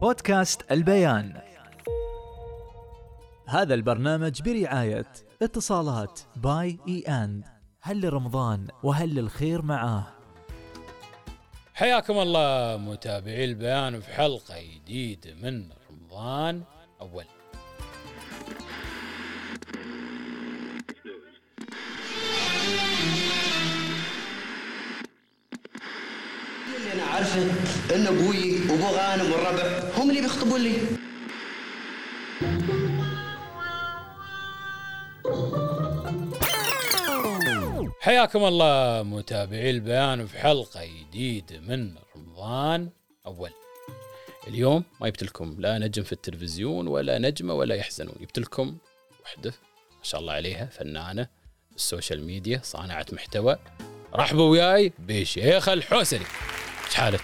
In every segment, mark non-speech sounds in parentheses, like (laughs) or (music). بودكاست البيان هذا البرنامج برعاية اتصالات باي اي اند هل لرمضان وهل للخير معاه حياكم الله متابعي البيان في حلقة جديدة من رمضان أول اللي انا عارفه ان ابوي وابو غانم والربع هم اللي بيخطبون لي حياكم الله متابعي البيان في حلقة جديدة من رمضان أول اليوم ما جبت لكم لا نجم في التلفزيون ولا نجمة ولا يحزنون جبت لكم وحدة ما شاء الله عليها فنانة السوشيال ميديا صانعة محتوى رحبوا وياي بشيخ الحوسري ايش حالك؟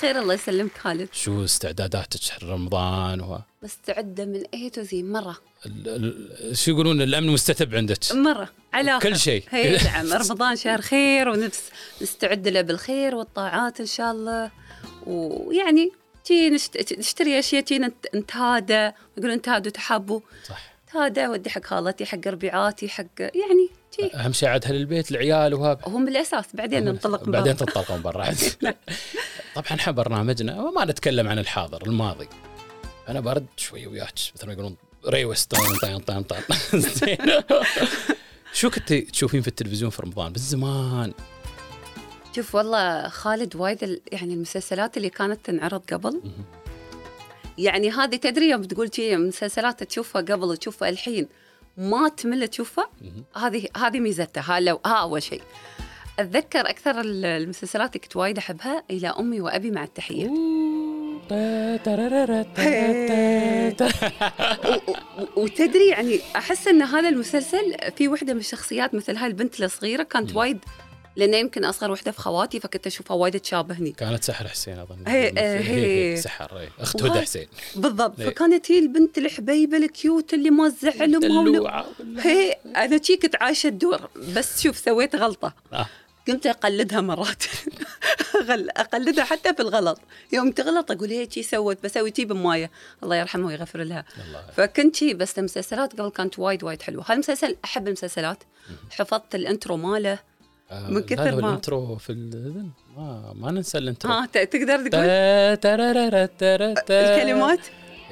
خير الله يسلمك خالد شو استعداداتك حق رمضان و مستعدة من اي تو زي مرة ال- ال- شو يقولون الامن مستتب عندك؟ مرة على كل شيء. (laughs) هي نعم رمضان شهر خير ونفس نستعد له بالخير والطاعات ان شاء الله ويعني تي نشت- نشتري اشياء تي نت- نتهادى يقولون نتهادوا تحابوا صح تهادى ودي حق خالتي حق ربيعاتي حق يعني تي اهم شيء عاد اهل البيت العيال وهذا هم بالاساس بعدين ننطلق من بعدين برا. تنطلقون برا (laughs) عاد. طبعا احنا برنامجنا وما نتكلم عن الحاضر الماضي انا برد شوي وياك مثل ما يقولون ريوس طن طن طن طن (laughs) زين شو كنت تشوفين في التلفزيون في رمضان بالزمان شوف والله خالد وايد ال- يعني المسلسلات اللي كانت تنعرض قبل مهم. يعني هذه تدري يوم تقول شي مسلسلات تشوفها قبل تشوفها الحين ما تمل تشوفها مهم. هذه هذه ميزتها ها لو ها اول شيء اتذكر اكثر ال- المسلسلات اللي كنت وايد احبها الى امي وابي مع التحيه و- و- وتدري يعني احس ان هذا المسلسل في وحده من الشخصيات مثل هاي البنت الصغيره كانت مم. وايد لان يمكن اصغر وحده في خواتي فكنت اشوفها وايد تشابهني كانت سحر حسين اظن هي- هي- هي. سحر هي. اخت وهذا هدى حسين بالضبط إيه. فكانت هي البنت الحبيبه الكيوت اللي ما تزعل امها دلوعة ولا- هي انا شي كنت عايشه الدور بس شوف سويت غلطه آه. قمت اقلدها مرات (laughs) أقل- اقلدها حتى في الغلط يوم تغلط اقول هي شي سوت بسوي شي بمايه الله يرحمها ويغفر لها الله. فكنت شي بس المسلسلات قبل كانت وايد وايد حلوه هالمسلسل احب المسلسلات حفظت الانترو ماله آه، من لا، كثر لو ما- آه، الانترو في الاذن ما ما ننسى الانترو ها ت- تقدر تقول تا- ترارارا- ترا- تا- الكلمات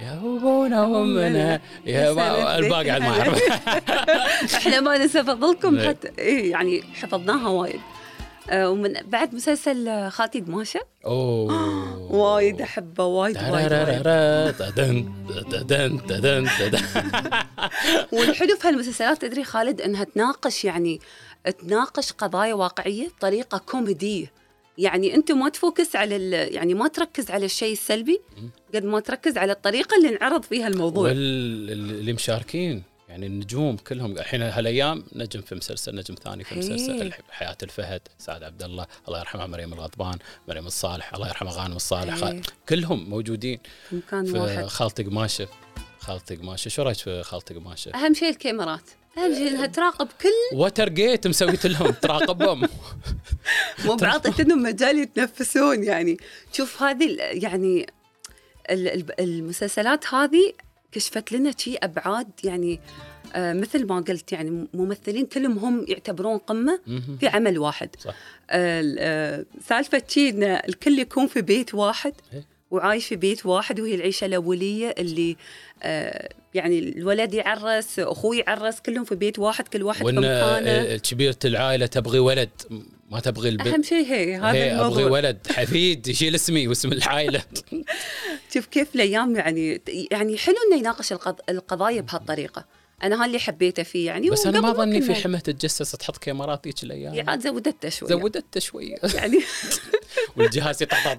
يا ابونا وامنا يا ما- الباقي عاد ما اعرف (laughs) (laughs) احنا ما ننسى فضلكم إيه. حتى إيه يعني حفظناها وايد آه، ومن بعد مسلسل آه، خالتي قماشه اوه وايد احبه وايد وايد, وايد. ترارارا- تدن- تدن- تدن- تدن. والحلو في هالمسلسلات تدري خالد انها تناقش يعني تناقش قضايا واقعيه بطريقه كوميديه يعني انت ما تفوكس على ال- يعني ما تركز على الشيء السلبي قد ما تركز على الطريقه اللي انعرض فيها الموضوع وال- اللي مشاركين يعني النجوم كلهم الحين هالايام نجم في مسلسل نجم ثاني في مسلسل إيه. الح- حياه الفهد سعد عبد الله الله يرحمها مريم الغضبان مريم الصالح الله يرحمها غانم الصالح إيه. كلهم موجودين في مكان في واحد خالتي قماشه خالتي قماشه شو رايك في خالتي قماشه؟ اهم شيء الكاميرات اهم شيء انها تراقب كل وتر جيت مسويت (laughs) لهم تراقبهم مو (laughs) بعطيتهم مجال يتنفسون يعني شوف هذه ال- يعني ال- ال- المسلسلات هذه كشفت لنا شيء ابعاد يعني آه، مثل ما قلت يعني ممثلين كلهم هم يعتبرون قمه مهم. في عمل واحد صح. آه، ال- آه، سالفه شيء ان الكل يكون في بيت واحد إيه. وعايش في بيت واحد وهي العيشه الاوليه اللي آه، يعني الولد يعرس اخوه يعرس كلهم في بيت واحد كل واحد في وان مكانه آه، كبيره العائله تبغي ولد ما تبغي اهم البنت شيء هي هذا هي ابغي الموضوع ولد حفيد يشيل اسمي واسم (laughs) العائله شوف كيف الايام يعني يعني حلو انه يناقش القض... القضايا بهالطريقه انا هاللي حبيته فيه يعني بس انا ما وقبل ظني في كنا- حمه تتجسس تحط كاميرات ذيك الايام يعني عاد زودته شوي زودته شوي (laughs) يعني (laughs) والجهاز يطلع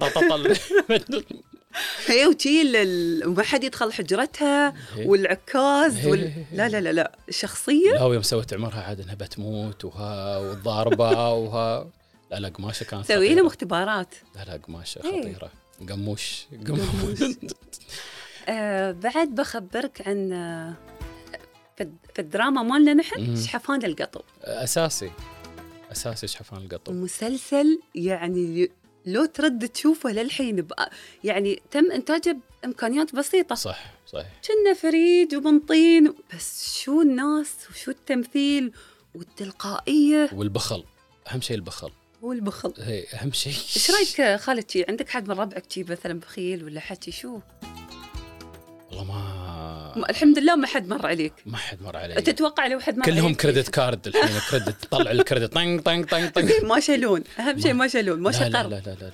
(laughs) هي وشي ال- ال- وما حد يدخل حجرتها هي. والعكاز وال... هي. لا لا لا لا الشخصيه لا ويوم سوت عمرها عاد انها بتموت وها والضاربه وها لا لا قماشه كانت سوي خطيرة. لهم اختبارات لا لا قماشه إيه. خطيره قموش قموش آه بعد بخبرك عن آه، في, الد- في الدراما مالنا نحن مم. شحفان القطو اساسي اساسي شحفان القطو مسلسل يعني لو ترد تشوفه للحين بقى يعني تم انتاجه بامكانيات بسيطه صح صحيح كنا فريد ومن طين بس شو الناس وشو التمثيل والتلقائيه والبخل اهم شيء البخل والبخل هي اهم شيء ايش رايك خالد شي عندك حد من ربعك شي مثلا بخيل ولا حكي شو آه. والله ما ما- الحمد لله ما حد مر عليك ما حد مر علي تتوقع لو حد مر إيه. كلهم عليك كريدت كارد الحين كريدت طلع الكريدت طنق طنق طنق طنق زين طيب، ما شالون اهم شيء ما شالون (laughs) ما لا لا شقر لا لا لا, لا.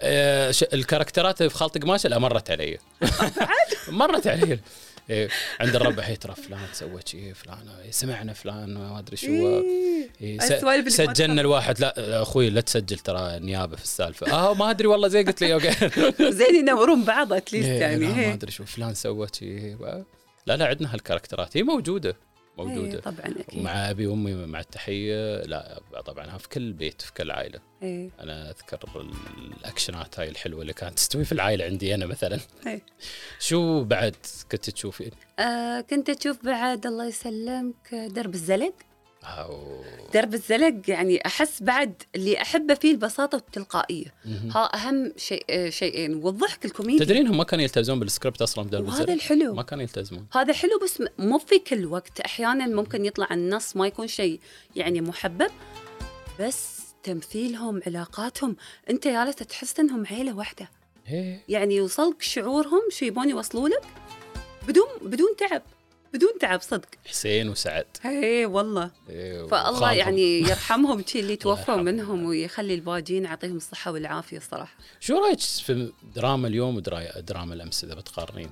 آه، ش- الكاركترات في خالد قماشه لا مرت علي (laughs) مرت علي إيه، عند الربع هي ترى فلان سوت شيء فلان إيه، سمعنا فلان ما ادري شو إيه. (laughs) إيه، السوالف س- اللي سجلنا الواحد لا لا، اخوي لا تسجل ترى نيابه في السالفه اه ما ادري والله زي قلت لي (laughs) اوكي زين ينورون بعض اتليست إيه، يعني لا، ما إيه. ادري شو فلان سوت شيء لا لا عندنا هالكاركترات هي موجوده إيه، موجوده طبعا اكيد مع ابي وامي مع التحيه لا طبعا في كل بيت في كل عائله إيه. انا اذكر الاكشنات هاي الحلوه اللي كانت تستوي في العائله عندي انا مثلا إيه. شو بعد كنت تشوفين آه كنت اشوف بعد الله يسلمك درب الزلق او درب الزلق يعني احس بعد اللي احبه فيه البساطه والتلقائيه مهم. ها اهم شيء آه، شيئين والضحك الكوميدي تدرين هم ما كانوا يلتزمون بالسكريبت اصلا بدرب وهذا الزرق الحلو ما كانوا يلتزمون هذا حلو بس م- مو في كل وقت احيانا ممكن يطلع النص ما يكون شيء يعني محبب بس تمثيلهم علاقاتهم انت جالس تحس انهم عيله واحده إيه. يعني يوصلك شعورهم شو يبون يوصلوا لك بدون بدون تعب بدون تعب صدق حسين وسعد اي والله إيه، فالله وخالهم. يعني يرحمهم شي اللي توفوا يرحمهم. منهم ويخلي الباجين يعطيهم الصحه والعافيه الصراحه شو رايك في دراما اليوم ودراما دراما الامس اذا بتقارنين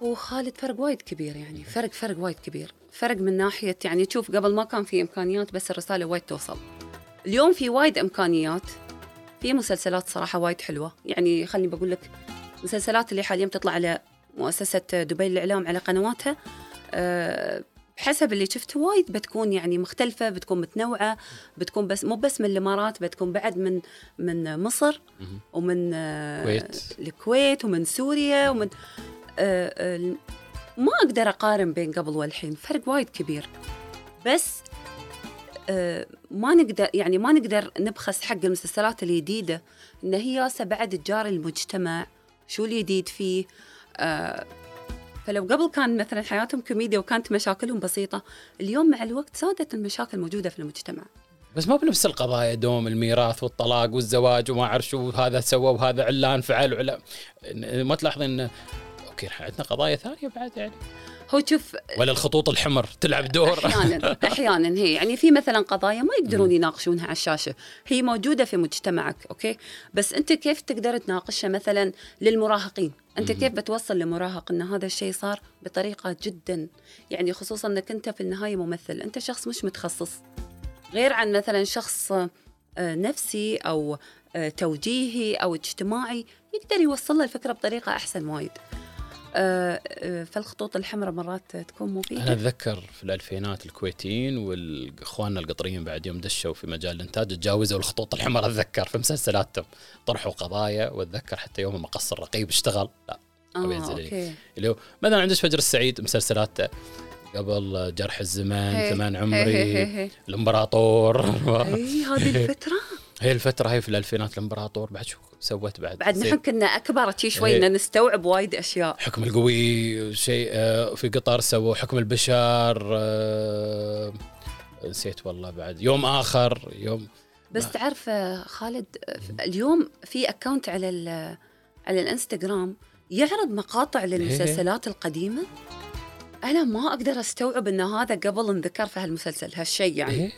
وخالد فرق وايد كبير يعني فرق فرق وايد كبير فرق من ناحية يعني تشوف قبل ما كان في إمكانيات بس الرسالة وايد توصل اليوم في وايد إمكانيات في مسلسلات صراحة وايد حلوة يعني خليني بقول لك المسلسلات اللي حاليا بتطلع على مؤسسة دبي للإعلام على قنواتها أه حسب اللي شفته وايد بتكون يعني مختلفة بتكون متنوعة بتكون بس مو بس من الإمارات بتكون بعد من من مصر مهم. ومن آه، الكويت. الكويت ومن سوريا ومن آه، آه، ما اقدر اقارن بين قبل والحين فرق وايد كبير بس آه، ما نقدر يعني ما نقدر نبخس حق المسلسلات الجديده ان هي ياسة بعد تجاري المجتمع شو الجديد فيه آه، فلو قبل كان مثلا حياتهم كوميديا وكانت مشاكلهم بسيطه اليوم مع الوقت زادت المشاكل موجوده في المجتمع بس ما بنفس القضايا دوم الميراث والطلاق والزواج وما اعرف شو هذا سوى وهذا علان فعل ولا ما تلاحظين ان اوكي إحنا عندنا قضايا ثانيه بعد يعني هو شوف ولا الخطوط الحمر تلعب (laughs) دور (laughs) احيانا احيانا هي يعني في مثلا قضايا ما يقدرون يناقشونها على الشاشه هي موجوده في مجتمعك اوكي بس انت كيف تقدر تناقشها مثلا للمراهقين انت كيف بتوصل لمراهق ان هذا الشيء صار بطريقه جدا يعني خصوصا انك انت في النهايه ممثل انت شخص مش متخصص غير عن مثلا شخص آه، نفسي او آه، توجيهي او اجتماعي يقدر يوصل له الفكره بطريقه احسن وايد آه، آه، فالخطوط الحمراء مرات تكون مفيده انا اتذكر في الالفينات الكويتيين واخواننا القطريين بعد يوم دشوا في مجال الانتاج تجاوزوا الخطوط الحمر اتذكر في مسلسلاتهم طرحوا قضايا واتذكر حتى يوم ما قصر رقيب اشتغل لا أبي اه أنزل عليك. اوكي اللي هو مثلا عندك فجر السعيد مسلسلاته قبل جرح الزمان هي. ثمان هي- عمري هي- هي. (laughs) الامبراطور اي (laughs) إيه، هذه الفترة هي الفتره هي في الالفينات الامبراطور بعد شو سوت بعد بعد زي نحن كنا اكبر شي شوي إيه. ان نستوعب وايد اشياء حكم القوي شيء آه، في قطر سووا حكم البشر آه، نسيت والله بعد يوم اخر يوم بس تعرف آه، خالد آه، ف- اليوم في اكونت على ال- على الانستغرام يعرض مقاطع إيه. للمسلسلات القديمة انا ما اقدر استوعب ان هذا قبل انذكر في هالمسلسل هالشيء يعني إيه؟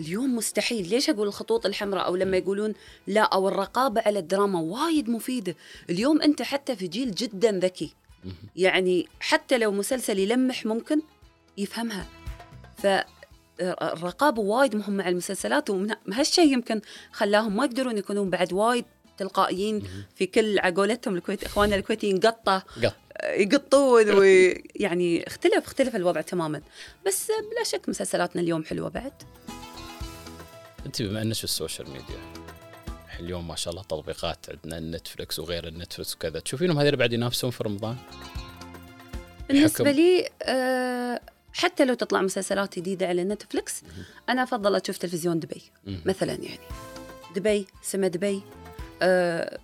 اليوم مستحيل ليش اقول الخطوط الحمراء او إيه. لما يقولون لا او الرقابه على الدراما وايد مفيده اليوم انت حتى في جيل جدا ذكي مهم. يعني حتى لو مسلسل يلمح ممكن يفهمها فالرقابه وايد مهمه على المسلسلات وهالشيء يمكن خلاهم ما يقدرون يكونون بعد وايد تلقائيين في كل عقولتهم الكويت اخواننا الكويتيين قطه قط. يقطون ويعني اختلف اختلف الوضع تماما بس بلا شك مسلسلاتنا اليوم حلوه بعد انت بما انك في السوشيال ميديا اليوم ما شاء الله تطبيقات عندنا النتفلكس وغير النتفلكس وكذا تشوفينهم هذول بعد ينافسون في رمضان بالنسبه الحكم. لي آه، حتى لو تطلع مسلسلات جديده على نتفلكس انا افضل اشوف تلفزيون دبي مهم. مثلا يعني دبي سما دبي آه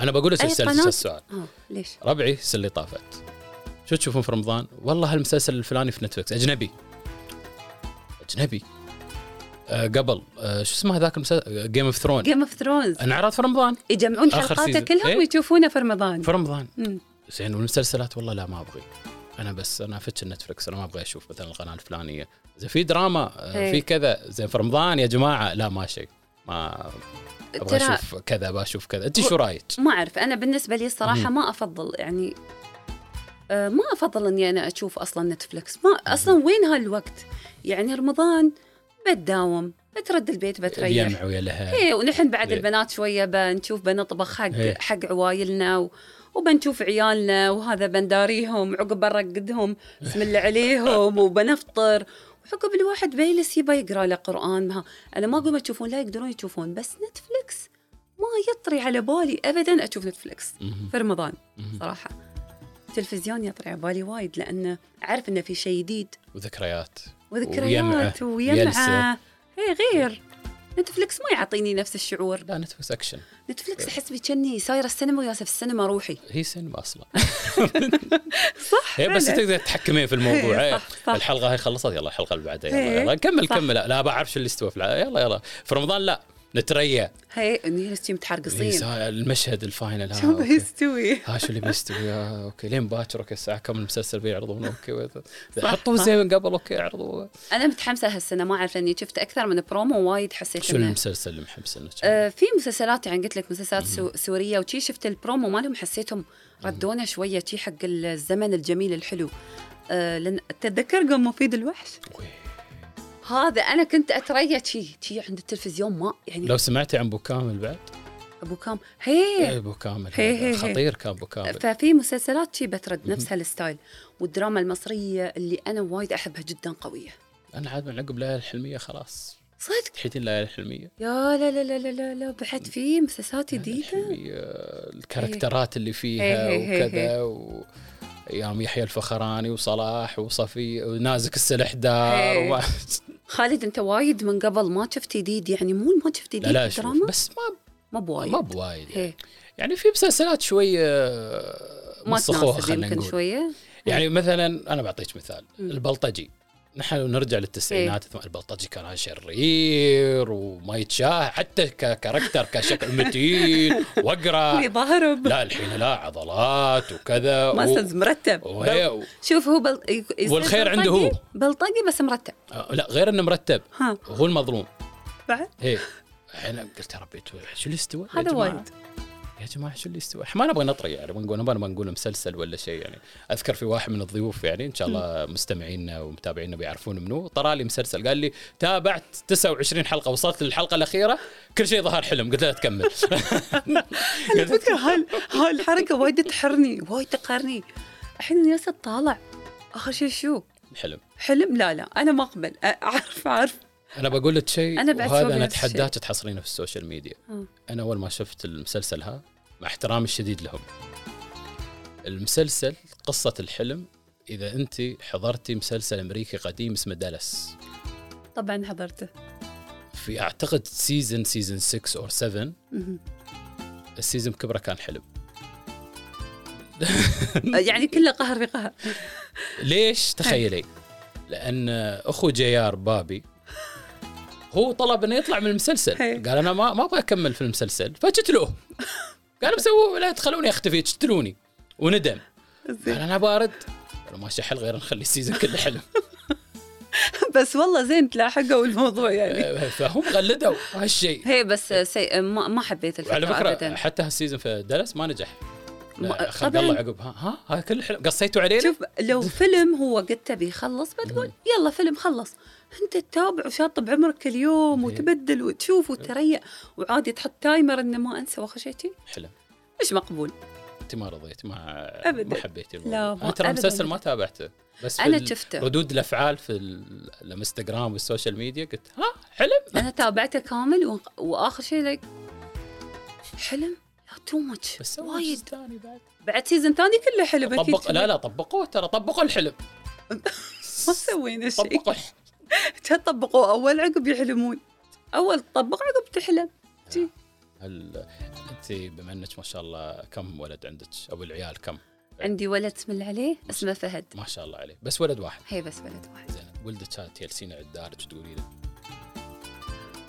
انا بقول لك أي السلسله قناة؟ السؤال آه، ليش ربعي السنه اللي طافت شو تشوفون في رمضان؟ والله هالمسلسل الفلاني في نتفلكس اجنبي اجنبي آه قبل آه شو اسمه هذاك المسلسل جيم اوف ثرون جيم اوف ثرونز انعرض في رمضان يجمعون آخر حلقاته سيزون. كلهم إيه؟ ويشوفونه في رمضان في رمضان مم. زين والمسلسلات والله لا ما ابغي انا بس انا افتش نتفلكس انا ما ابغى اشوف مثلا القناه الفلانيه زين في دراما آه إيه. في كذا زين في رمضان يا جماعه لا ما شيء ما ابغى ترى اشوف كذا بشوف كذا انت شو رايك؟ ما اعرف انا بالنسبه لي الصراحه ما افضل يعني آه، ما افضل اني انا اشوف اصلا نتفلكس ما اصلا وين هالوقت يعني رمضان بتداوم بترد البيت بتريح اليمع ويا لها ايه ونحن بعد إيه. البنات شويه بنشوف بنطبخ حق إيه. حق عوايلنا و... وبنشوف عيالنا وهذا بنداريهم عقب بنرقدهم بسم الله عليهم وبنفطر وعقب الواحد بيجلس يبى يقرا له قران ما انا ما اقول ما تشوفون لا يقدرون يشوفون بس نتفلكس ما يطري على بالي ابدا اشوف نتفلكس مهم. في رمضان مهم. صراحه التلفزيون يطري على بالي وايد لانه اعرف انه في شيء جديد وذكريات ويمعة، وذكريات يلسة. ويمعه هي غير نتفلكس ما يعطيني نفس الشعور لا نتفلكس اكشن نتفلكس احس بكني سايره السينما وياسف السينما روحي هي سينما (laughs) اصلا صح هي بس فعلاً. تقدر تتحكمين في الموضوع إيه، إيه. صح، صح. الحلقه هاي خلصت يلا الحلقه اللي بعدها يلا إيه، يلا كمل صح. كمل لا بعرف شو اللي استوى في الع- يلا يلا في رمضان لا نتريا هي اني هسه إيه، متحرقصين المشهد الفاينل ها (laughs) شو آه، أوكي. بيستوي ها شو اللي بيستوي آه، اوكي لين باكر اوكي الساعه كم المسلسل بيعرضونه اوكي وهذا. صح، حطوه صح. زي من قبل اوكي عرضوه انا متحمسه هالسنه ما اعرف لاني شفت اكثر من برومو وايد حسيت شو إنه- المسلسل اللي محمسنك؟ إيه، آه، في مسلسلات يعني قلت لك مسلسلات سو سوريه وشي شفت البرومو مالهم حسيتهم ردونا شويه شي حق الزمن الجميل الحلو آه، لان تتذكر قام مفيد الوحش أوي. هذا انا كنت اتريا شي شي عند التلفزيون ما يعني لو سمعتي عن ابو كامل بعد ابو كام هي إيه، ابو كامل هي- هي- هذا هي. خطير كان ابو كامل ففي مسلسلات شي بترد نفس هالستايل والدراما المصرية اللي أنا وايد أحبها جدا قوية انا عاد من عقب ليالي الحلميه خلاص صدق تحيتين ليالي الحلميه يا لا لا لا لا لا, لا بعد في مسلسلات جديدة الحلمية، الكاركترات اللي فيها إيه، إيه، إيه، وكذا و ايام يحيى الفخراني وصلاح وصفي ونازك السلحدار إيه. و... خالد أنت وايد من قبل ما شفت جديد يعني مو ما شفت جديد لا لا شوف دراما بس ما ما بوايد ما بوايد يعني. إيه. يعني في مسلسلات شويه ما مسخوها تناسب خلينا يمكن إيه. نقول شوية يعني مثلا انا بعطيك مثال البلطجي نحن لو نرجع للتسعينات إيه. ثم البلطجي كان شرير وما يتشاهد حتى ككاركتر كشكل متين (laughs) واقرع يضارب لا الحين لا عضلات وكذا مسلز مرتب وهي- بل- شوف هو بل... يصير أيوة. والخير عنده بلطجي- هو. بلطجي بس مرتب آه، لا غير انه مرتب ها هو المظلوم بعد هي انا قلت يا ربي تو- شو اللي استوى يا هذا جماعة؟ وايد يا جماعه شو اللي استوى احنا ما نبغى نطري يعني ما نقول ما نبغى نقول مسلسل ولا شيء يعني اذكر في واحد من الضيوف يعني ان شاء الله مستمعينا ومتابعينا بيعرفون منو طرى لي مسلسل قال لي تابعت 29 حلقه وصلت للحلقه الاخيره كل شيء ظهر حلم قلت له لا تكمل (laughs) على فكرة هال هالحركة وايد تحرني وايد تقهرني الحين ياسر طالع آخر شيء شو حلم حلم لا لا أنا ما أقبل أ- أعرف أعرف انا بقول لك شيء أنا بعد وهذا سوي انا نفس الشيء. آه. اتحداك تحصرينه في السوشيال ميديا مم. انا اول ما شفت المسلسل ها مع احترامي الشديد لهم المسلسل قصه الحلم اذا انت حضرتي مسلسل امريكي قديم اسمه دالاس طبعا حضرته في اعتقد سيزن سيزن 6 اور 7 مهم. السيزن بكبره كان حلم يعني كله قهر في قهر ليش تخيلي لان اخو جيار بابي هو طلب انه يطلع من المسلسل هي. قال انا ما ما ابغى اكمل في المسلسل فقتلوه قالوا سووا لا تخلوني اختفي قتلوني وندم قال زين. انا بارد قالوا ماشي حل غير نخلي السيزون كله (laughs) حلم بس والله زين تلاحقوا الموضوع يعني فهم غلدوا هالشيء هي بس سي... ما, ما حبيت الفكرة وعلى فكره أبدا حتى هالسيزون في دالاس ما نجح ما- خلق طبعاً. الله عقب ها ها هذا كل حلم قصيتوا علينا شوف لو فيلم هو قد تبي يخلص بتقول يلا فيلم خلص انت تتابع وشاطب بعمرك اليوم وتبدل وتشوف وتريق وعادي تحط تايمر انه ما انسى واخر شيء شي. حلم مش مقبول انت ما رضيت ما أبداً. ما حبيتي الموضوع لا، انا ما- ترى أبداً. المسلسل ما تابعته بس في أنا ال- شفته. ردود الافعال في ال- الانستغرام والسوشيال ميديا قلت ها حلم انا تابعته كامل و... واخر شيء like حلم لا تو ماتش بس وايد ثاني بعد بعد سيزون ثاني كله حلم اكيد طبق لا لا طبقوه ترى طبقوا الحلم ما سوينا (laughs) شيء طبقوا الحلم طبقوا اول عقب يحلمون اول طبق عقب تحلم جي. هل انت بما انك ما شاء الله كم ولد عندك او العيال كم؟ عندي ولد تمل عليه اسمه فهد ما شاء الله عليه بس ولد واحد هي بس ولد واحد زين ولدك كانت يلسينه على الدارج تقولي له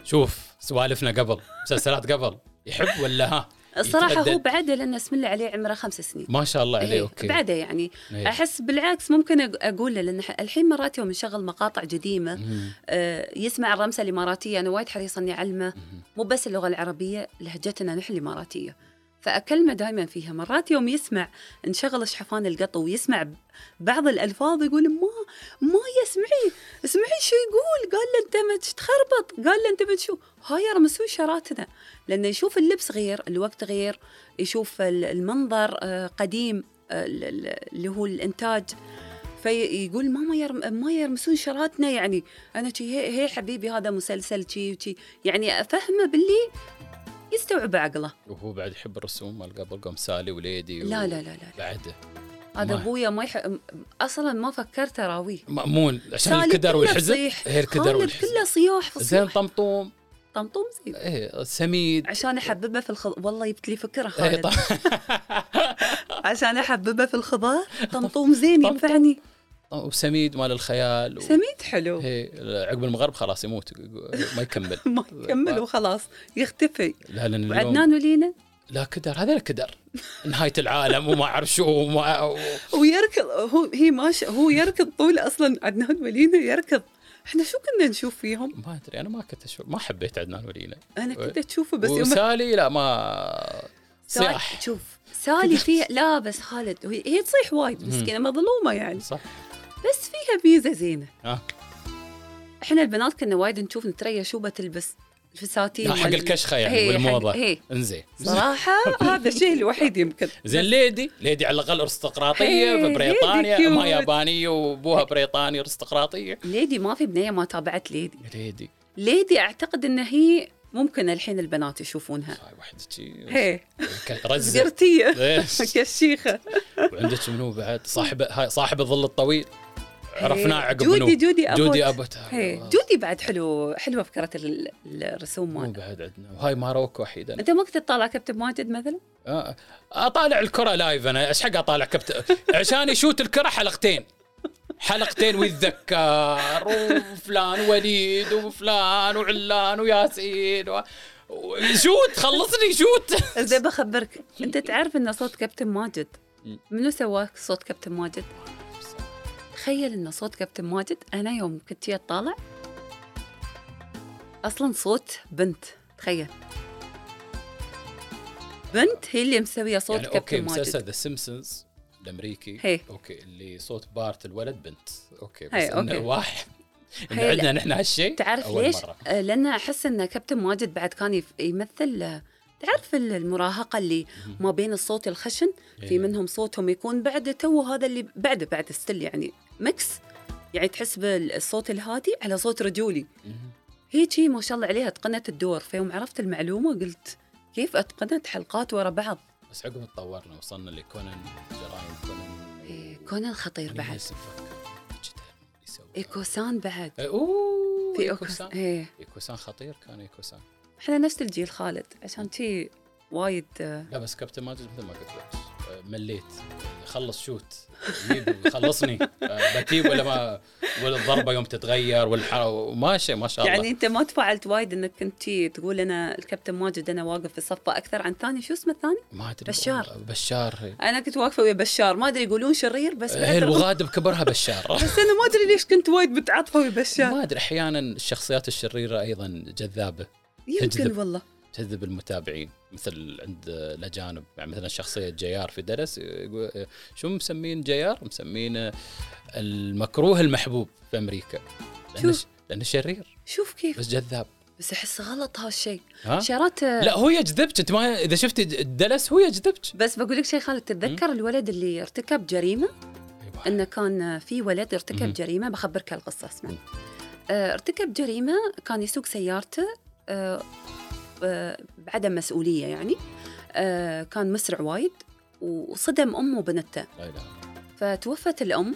شوف سوالفنا قبل مسلسلات قبل يحب ولا ها؟ الصراحة هو يتردد. بعده لأن اسم الله عليه عمره خمس سنين ما شاء الله عليه إيه، اوكي بعده يعني إيه. احس بالعكس ممكن أق- اقول له لان ح- الحين مرات يوم نشغل مقاطع قديمه مم. آه، يسمع الرمسه الاماراتيه انا وايد حريصه اني اعلمه مم. مو بس اللغه العربيه لهجتنا نحن الاماراتيه فاكلمه دائما فيها مرات يوم يسمع نشغل شحفان القط ويسمع ب- بعض الالفاظ يقول ما ما يسمعي اسمعي شو يقول قال له انت ما تخربط قال له انت ما شو هاي يا رمسوي شراتنا لانه يشوف اللبس غير الوقت غير يشوف ال- المنظر آه، قديم آه، ال- ال- اللي هو الانتاج فيقول ماما يرم ما يرمسون شراتنا يعني انا شي هي, هي حبيبي هذا مسلسل شي وشي يعني افهمه باللي يستوعب عقله وهو بعد يحب الرسوم مال قبل قام سالي وليدي و... لا لا لا لا بعده هذا ما- ابويا ما يح... اصلا ما فكرت اراويه مأمون عشان سالي الكدر كله والحزن صيح. هي الكدر خالد والحزن كله صياح فصيح زين طمطوم طمطم زين ايه سميد عشان احببه في الخضار والله جبت لي فكره ايه خالد طم... (laughs) عشان احببه في الخضار طمطم زين ينفعني وسميد مال الخيال و... سميد حلو ايه عقب المغرب خلاص يموت ما يكمل (laughs) ما يكمل وخلاص يختفي لا لان طيب. اليوم وعدنان ولينا لا كدر هذا كدر نهايه العالم وما اعرف شو وما و... ويركض هو هي ماشي هو يركض طول اصلا عدنان ولينا يركض احنا شو كنا نشوف فيهم ما ادري انا ما كنت اشوف ما حبيت عدنان ولينا انا كنت اشوفه بس بس يوم وسالي لا ما سالي صياح شوف سالي فيها لا بس خالد هي, هي تصيح وايد مسكينه مظلومه يعني صح بس فيها ميزه زينه ها احنا البنات كنا وايد نشوف نتريا شو بتلبس الفساتين لا، حق وال- الكشخه يعني هي، والموضه حق- هي انزين صراحه هذا الشيء الوحيد يمكن زين ليدي ليدي على الاقل هي، ارستقراطيه في ليدي بريطانيا ما cute. يابانيه وابوها بريطاني ارستقراطيه ليدي ما في بنيه ما تابعت ليدي ليدي ليدي اعتقد ان هي ممكن الحين البنات يشوفونها هاي واحده شي هي رزه زقرتيه (laughs) إيش. كشيخه وعندك منو بعد صاحب هاي صاحب الظل الطويل عرفناه عقب إيه، جودي- منو جودي أبوت. جودي آه، ابوت هي. جودي بعد حلو حلوه فكره ال- الرسوم مو مالها بعد عندنا وهاي ماروكو وحيد انا انت ما كنت تطالع كابتن ماجد مثلا؟ آه، اطالع الكره لايف انا ايش حق اطالع كبت عشان يشوت الكره حلقتين حلقتين ويتذكر وفلان وليد وفلان وعلان وياسين و... ويشوت خلصني (laughs) شوت زين بخبرك انت تعرف ان صوت كابتن ماجد مم. منو سواك صوت كابتن ماجد؟ تخيل ان صوت كابتن ماجد انا يوم كنت جاي اطالع اصلا صوت بنت تخيل بنت هي اللي مسويه صوت يعني يعني اوكي كابتن ماجد مسلسل ذا سيمبسونز الامريكي هي. اوكي اللي صوت بارت الولد بنت اوكي بس هي، انه أوكي. واحد إن هي، يعني عندنا نحن هالشيء تعرف أول ليش؟ مرة. آه، لان احس ان كابتن ماجد بعد كان يف- يمثل آه، تعرف ال- المراهقه اللي ما بين الصوت الخشن في إيه. منهم صوتهم يكون بعد تو هذا اللي بعده بعد ستيل يعني ميكس يعني تحس بالصوت الهادي على صوت رجولي مهم. هي شي ما شاء الله عليها اتقنت الدور فيوم عرفت المعلومه قلت كيف اتقنت حلقات ورا بعض بس عقب تطورنا وصلنا لكونان جرايم كونان إيه، كونان خطير يعني بعد إيه، لسه مفكر. جدا يسوي. ايكوسان بعد إيه، اوه في إيكوسان. اوكوسان ايه ايكوسان خطير كان ايكوسان احنا نفس الجيل خالد عشان شي وايد آه، لا بس كابتن ماجد مثل ما قلت لك آه، مليت خلص شوت جيب خلصني آه، بتيب ولا ما ولا الضربه يوم تتغير والحراره وماشي ما شاء الله يعني انت ما تفاعلت وايد انك كنت شي تقول انا الكابتن ماجد انا واقف في صفه اكثر عن ثاني شو اسمه الثاني؟ ما ادري بشار. بشار انا كنت واقفه ويا بشار ما ادري يقولون شرير بس هي بعد الغ- الوغاد بكبرها بشار بس انا ما ادري ليش كنت وايد متعاطفه ويا (laughs) بشار ما ادري احيانا الشخصيات الشريره ايضا جذابه تجذب. يمكن والله تجذب المتابعين مثل عند الاجانب يعني مثلا شخصيه جيار في درس يقول- شو مسمين جيار؟ مسمينه المكروه المحبوب في امريكا لانه شوف. لانه شرير شوف كيف بس جذاب بس احس غلط هالشيء ها؟ شارات لا هو يجذبك انت ما اذا شفتي الدلس هو يجذبك بس بقول لك شيء خالد تتذكر الولد اللي ارتكب جريمه انه كان في ولد مهم. ارتكب جريمه بخبرك القصه اسمع مم. آه، ارتكب جريمه كان يسوق سيارته آه، آه، بعدم مسؤوليه يعني آه، كان مسرع وايد وصدم امه وبنته لا لا لا. فتوفت الام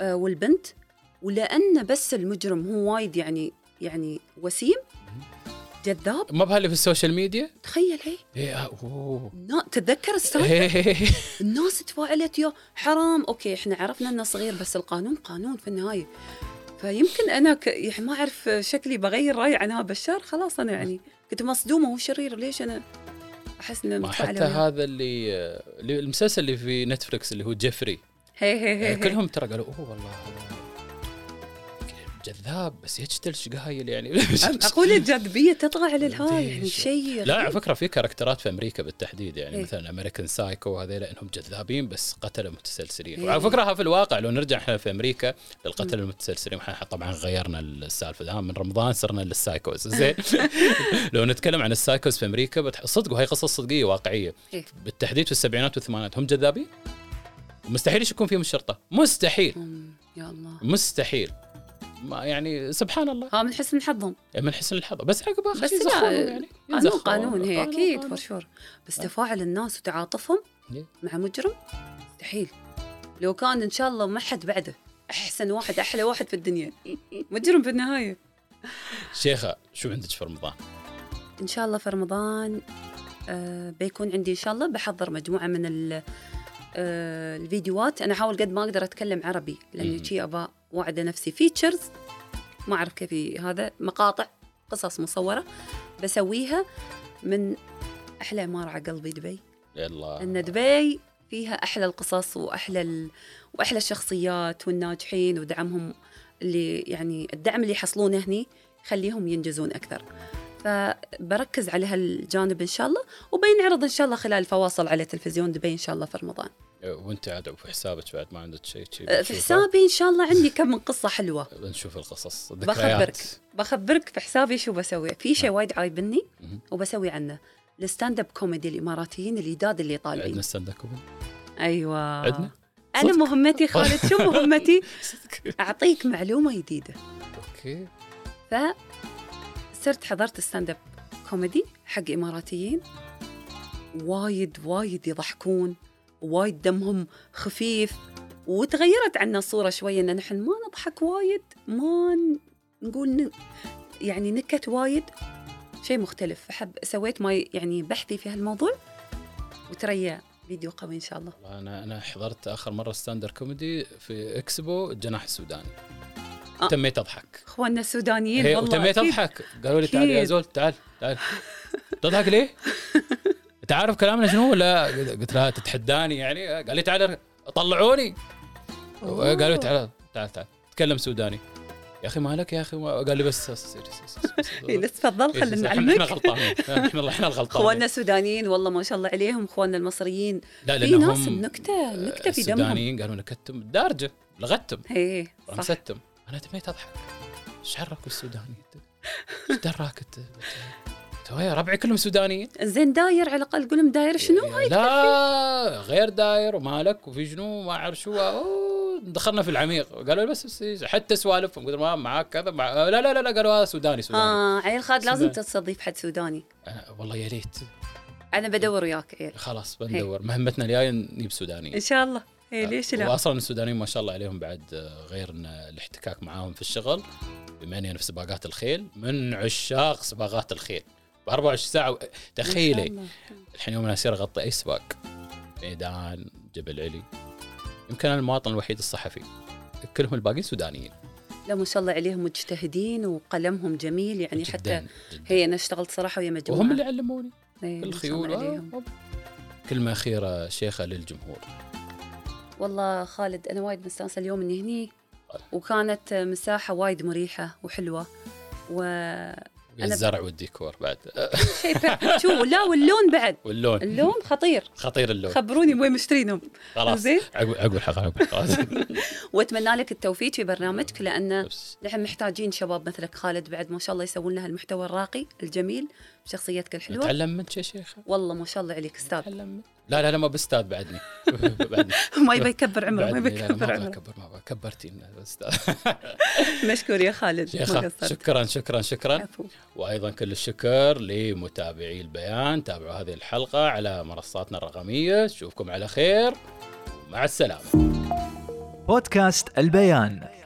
آه، والبنت ولان بس المجرم هو وايد يعني يعني وسيم جذاب ما بها اللي في السوشيال ميديا؟ تخيل هي ايه آه، اوه نا- تتذكر السالفه إيه. الناس تفاعلت يا حرام اوكي احنا عرفنا انه صغير بس القانون قانون في النهايه فيمكن انا ك... يعني ما اعرف شكلي بغير رايي عن هذا الشر خلاص انا يعني كنت مصدومه هو شرير ليش انا احس انه ما حتى متفاعلة وياه؟ هذا اللي اللي- المسلسل اللي في نتفلكس اللي هو جيفري هي هي هي, يعني هي. كلهم ترى قالوا اوه والله جذاب بس يجتل شقايل يعني (laughs) أم- اقول الجاذبيه تطغى على الهواء ليش؟ يعني شيء لا على فكره في كاركترات في امريكا بالتحديد يعني إيه. مثلا امريكان سايكو وهذيلا انهم جذابين بس قتله متسلسلين إيه. وعلى فكره ها في الواقع لو نرجع احنا في امريكا للقتله المتسلسلين احنا طبعا غيرنا السالفه الان من رمضان صرنا للسايكوز (laughs) زين لو نتكلم عن السايكوز في امريكا بتح... صدق وهي قصص صدقيه واقعيه إيه. بالتحديد في السبعينات والثمانينات هم جذابين مستحيل يشكون فيهم الشرطه مستحيل أم، يا الله مستحيل ما يعني سبحان الله يعني ها من حسن حظهم من حسن الحظ بس عقبها بس خلي لا، يزخرون يعني قانون يزخرون. قانون هي قانون، اكيد قانون. آه. فور شور بس تفاعل الناس وتعاطفهم إيه. مع مجرم مستحيل لو كان ان شاء الله ما حد بعده احسن واحد احلى واحد في الدنيا مجرم في النهايه شيخه شو عندك في رمضان؟ ان شاء الله في رمضان آه بيكون عندي ان شاء الله بحضر مجموعه من ال- آه الفيديوهات انا احاول قد ما اقدر اتكلم عربي مم. لاني شي ابى وعد نفسي فيتشرز ما اعرف كيف هذا مقاطع قصص مصوره بسويها من احلى ما رعى قلبي دبي يلا ان دبي فيها احلى القصص واحلى ال... واحلى الشخصيات والناجحين ودعمهم اللي يعني الدعم اللي يحصلونه هني يخليهم ينجزون اكثر فبركز على هالجانب ان شاء الله وبينعرض ان شاء الله خلال فواصل على تلفزيون دبي ان شاء الله في رمضان وانت عاد في حسابك بعد ما عندك شيء شي أه، في بنشوفه. حسابي ان شاء الله عندي كم من قصه (laughs) حلوه بنشوف القصص بخبرك ذكريات نعم. بخبرك في حسابي شو بسوي في شيء وايد عايبني مهم. وبسوي عنه الستاند اب كوميدي الاماراتيين الجداد اللي عندنا طالعين ستاند (laughs) اب ايوه عندنا انا صدق؟ مهمتي خالد شو مهمتي صدق اعطيك معلومه جديده اوكي فصرت حضرت ستاند اب كوميدي حق اماراتيين وايد وايد يضحكون وايد دمهم خفيف وتغيرت عنا الصوره شويه ان نحن ما نضحك وايد ما ن- نقول ن... يعني نكت وايد شيء مختلف فحب سويت ما ي- يعني بحثي في هالموضوع وتريا فيديو قوي ان شاء الله والله انا انا حضرت اخر مره ستاند اب كوميدي في اكسبو الجناح السوداني آه. تميت اضحك اخواننا السودانيين هي إيه، والله إيه، وتميت أكيد. اضحك قالوا لي تعال يا أكيد. زول تعال تعال تضحك ليه؟ انت عارف كلامنا شنو ولا قلت لها تتحداني يعني قال لي تعال طلعوني أوه. قالوا تعال تعال تعال تكلم سوداني يا اخي مالك يا اخي ما- قال لي بس بس- بس- بس- بس- إيه، بس- بس تفضل إيه، خلينا إحنا- احنا نعلمك غلطانين احنا احنا اخواننا الغلطانين السودانيين والله ما شاء الله عليهم اخواننا المصريين لا في ناس لانهم النكته النكته في دمهم السودانيين قالوا نكتم دارجه لغتم ايه صح نستم انا تميت اضحك ايش حرك السوداني انت؟ ايش دراك انت؟ أنت ويا ربعي كلهم سودانيين زين داير على الاقل قول لهم إيه، داير شنو لا غير داير ومالك وفي شنو ما اعرف شو أوه، دخلنا في العميق قالوا بس- بس بس- حتى سوالفهم قدر ما معاك كذا مع... لا لا لا لا قالوا آه، سوداني سوداني اه عيل خالد لازم سوداني. تستضيف حد سوداني أنا والله يا ريت انا بدور وياك عيل خلاص بندور مهمتنا الجايه نجيب ان سودانيين شاء الله آه، ايه ليش لا واصلا السودانيين ما شاء الله عليهم بعد آه، غير إن الاحتكاك معاهم في الشغل بما اني انا في سباقات الخيل من عشاق سباقات الخيل ب 24 ساعه و- تخيلي الله. الحين يوم انا اصير اغطي اي سباق ميدان جبل علي يمكن انا المواطن الوحيد الصحفي كلهم الباقيين سودانيين لا ما شاء الله عليهم مجتهدين وقلمهم جميل يعني حتى جدا جدا هي انا اشتغلت صراحه ويا مجموعه وهم اللي علموني إيه، ما شاء الله الخيول عليهم. آه، كلمه اخيره شيخه للجمهور والله خالد انا وايد مستانسه اليوم اني هني وكانت مساحه وايد مريحه وحلوه و (laughs) الزرع والديكور بعد (laughs) آه، شيء فعلا. شو لا واللون بعد واللون اللون خطير خطير اللون خبروني وين مشترينهم خلاص زين. عقب عقب الحلقه عقب (laughs) (laughs) الحلقه واتمنى لك التوفيق في برنامجك لان بس. نحن محتاجين شباب مثلك خالد بعد ما شاء الله يسوون لها المحتوى الراقي الجميل بشخصيتك الحلوه نتعلم منك يا شيخه والله ما شاء الله عليك استاذ نتعلم منك. لا لا لا ما بستاذ بعدني (laughs) بعدني (laughs) ما يبي يكبر عمره ما بعدني. لا، لا، يبي يكبر ما عمره بكبر ما بكبر. كبرتينا استاذ (laughs) (laughs) مشكور يا خالد ما شيخه قصرت شكرا شكرا شكرا عفو. وايضا كل الشكر لمتابعي البيان تابعوا هذه الحلقه على منصاتنا الرقميه نشوفكم على خير مع السلامه بودكاست البيان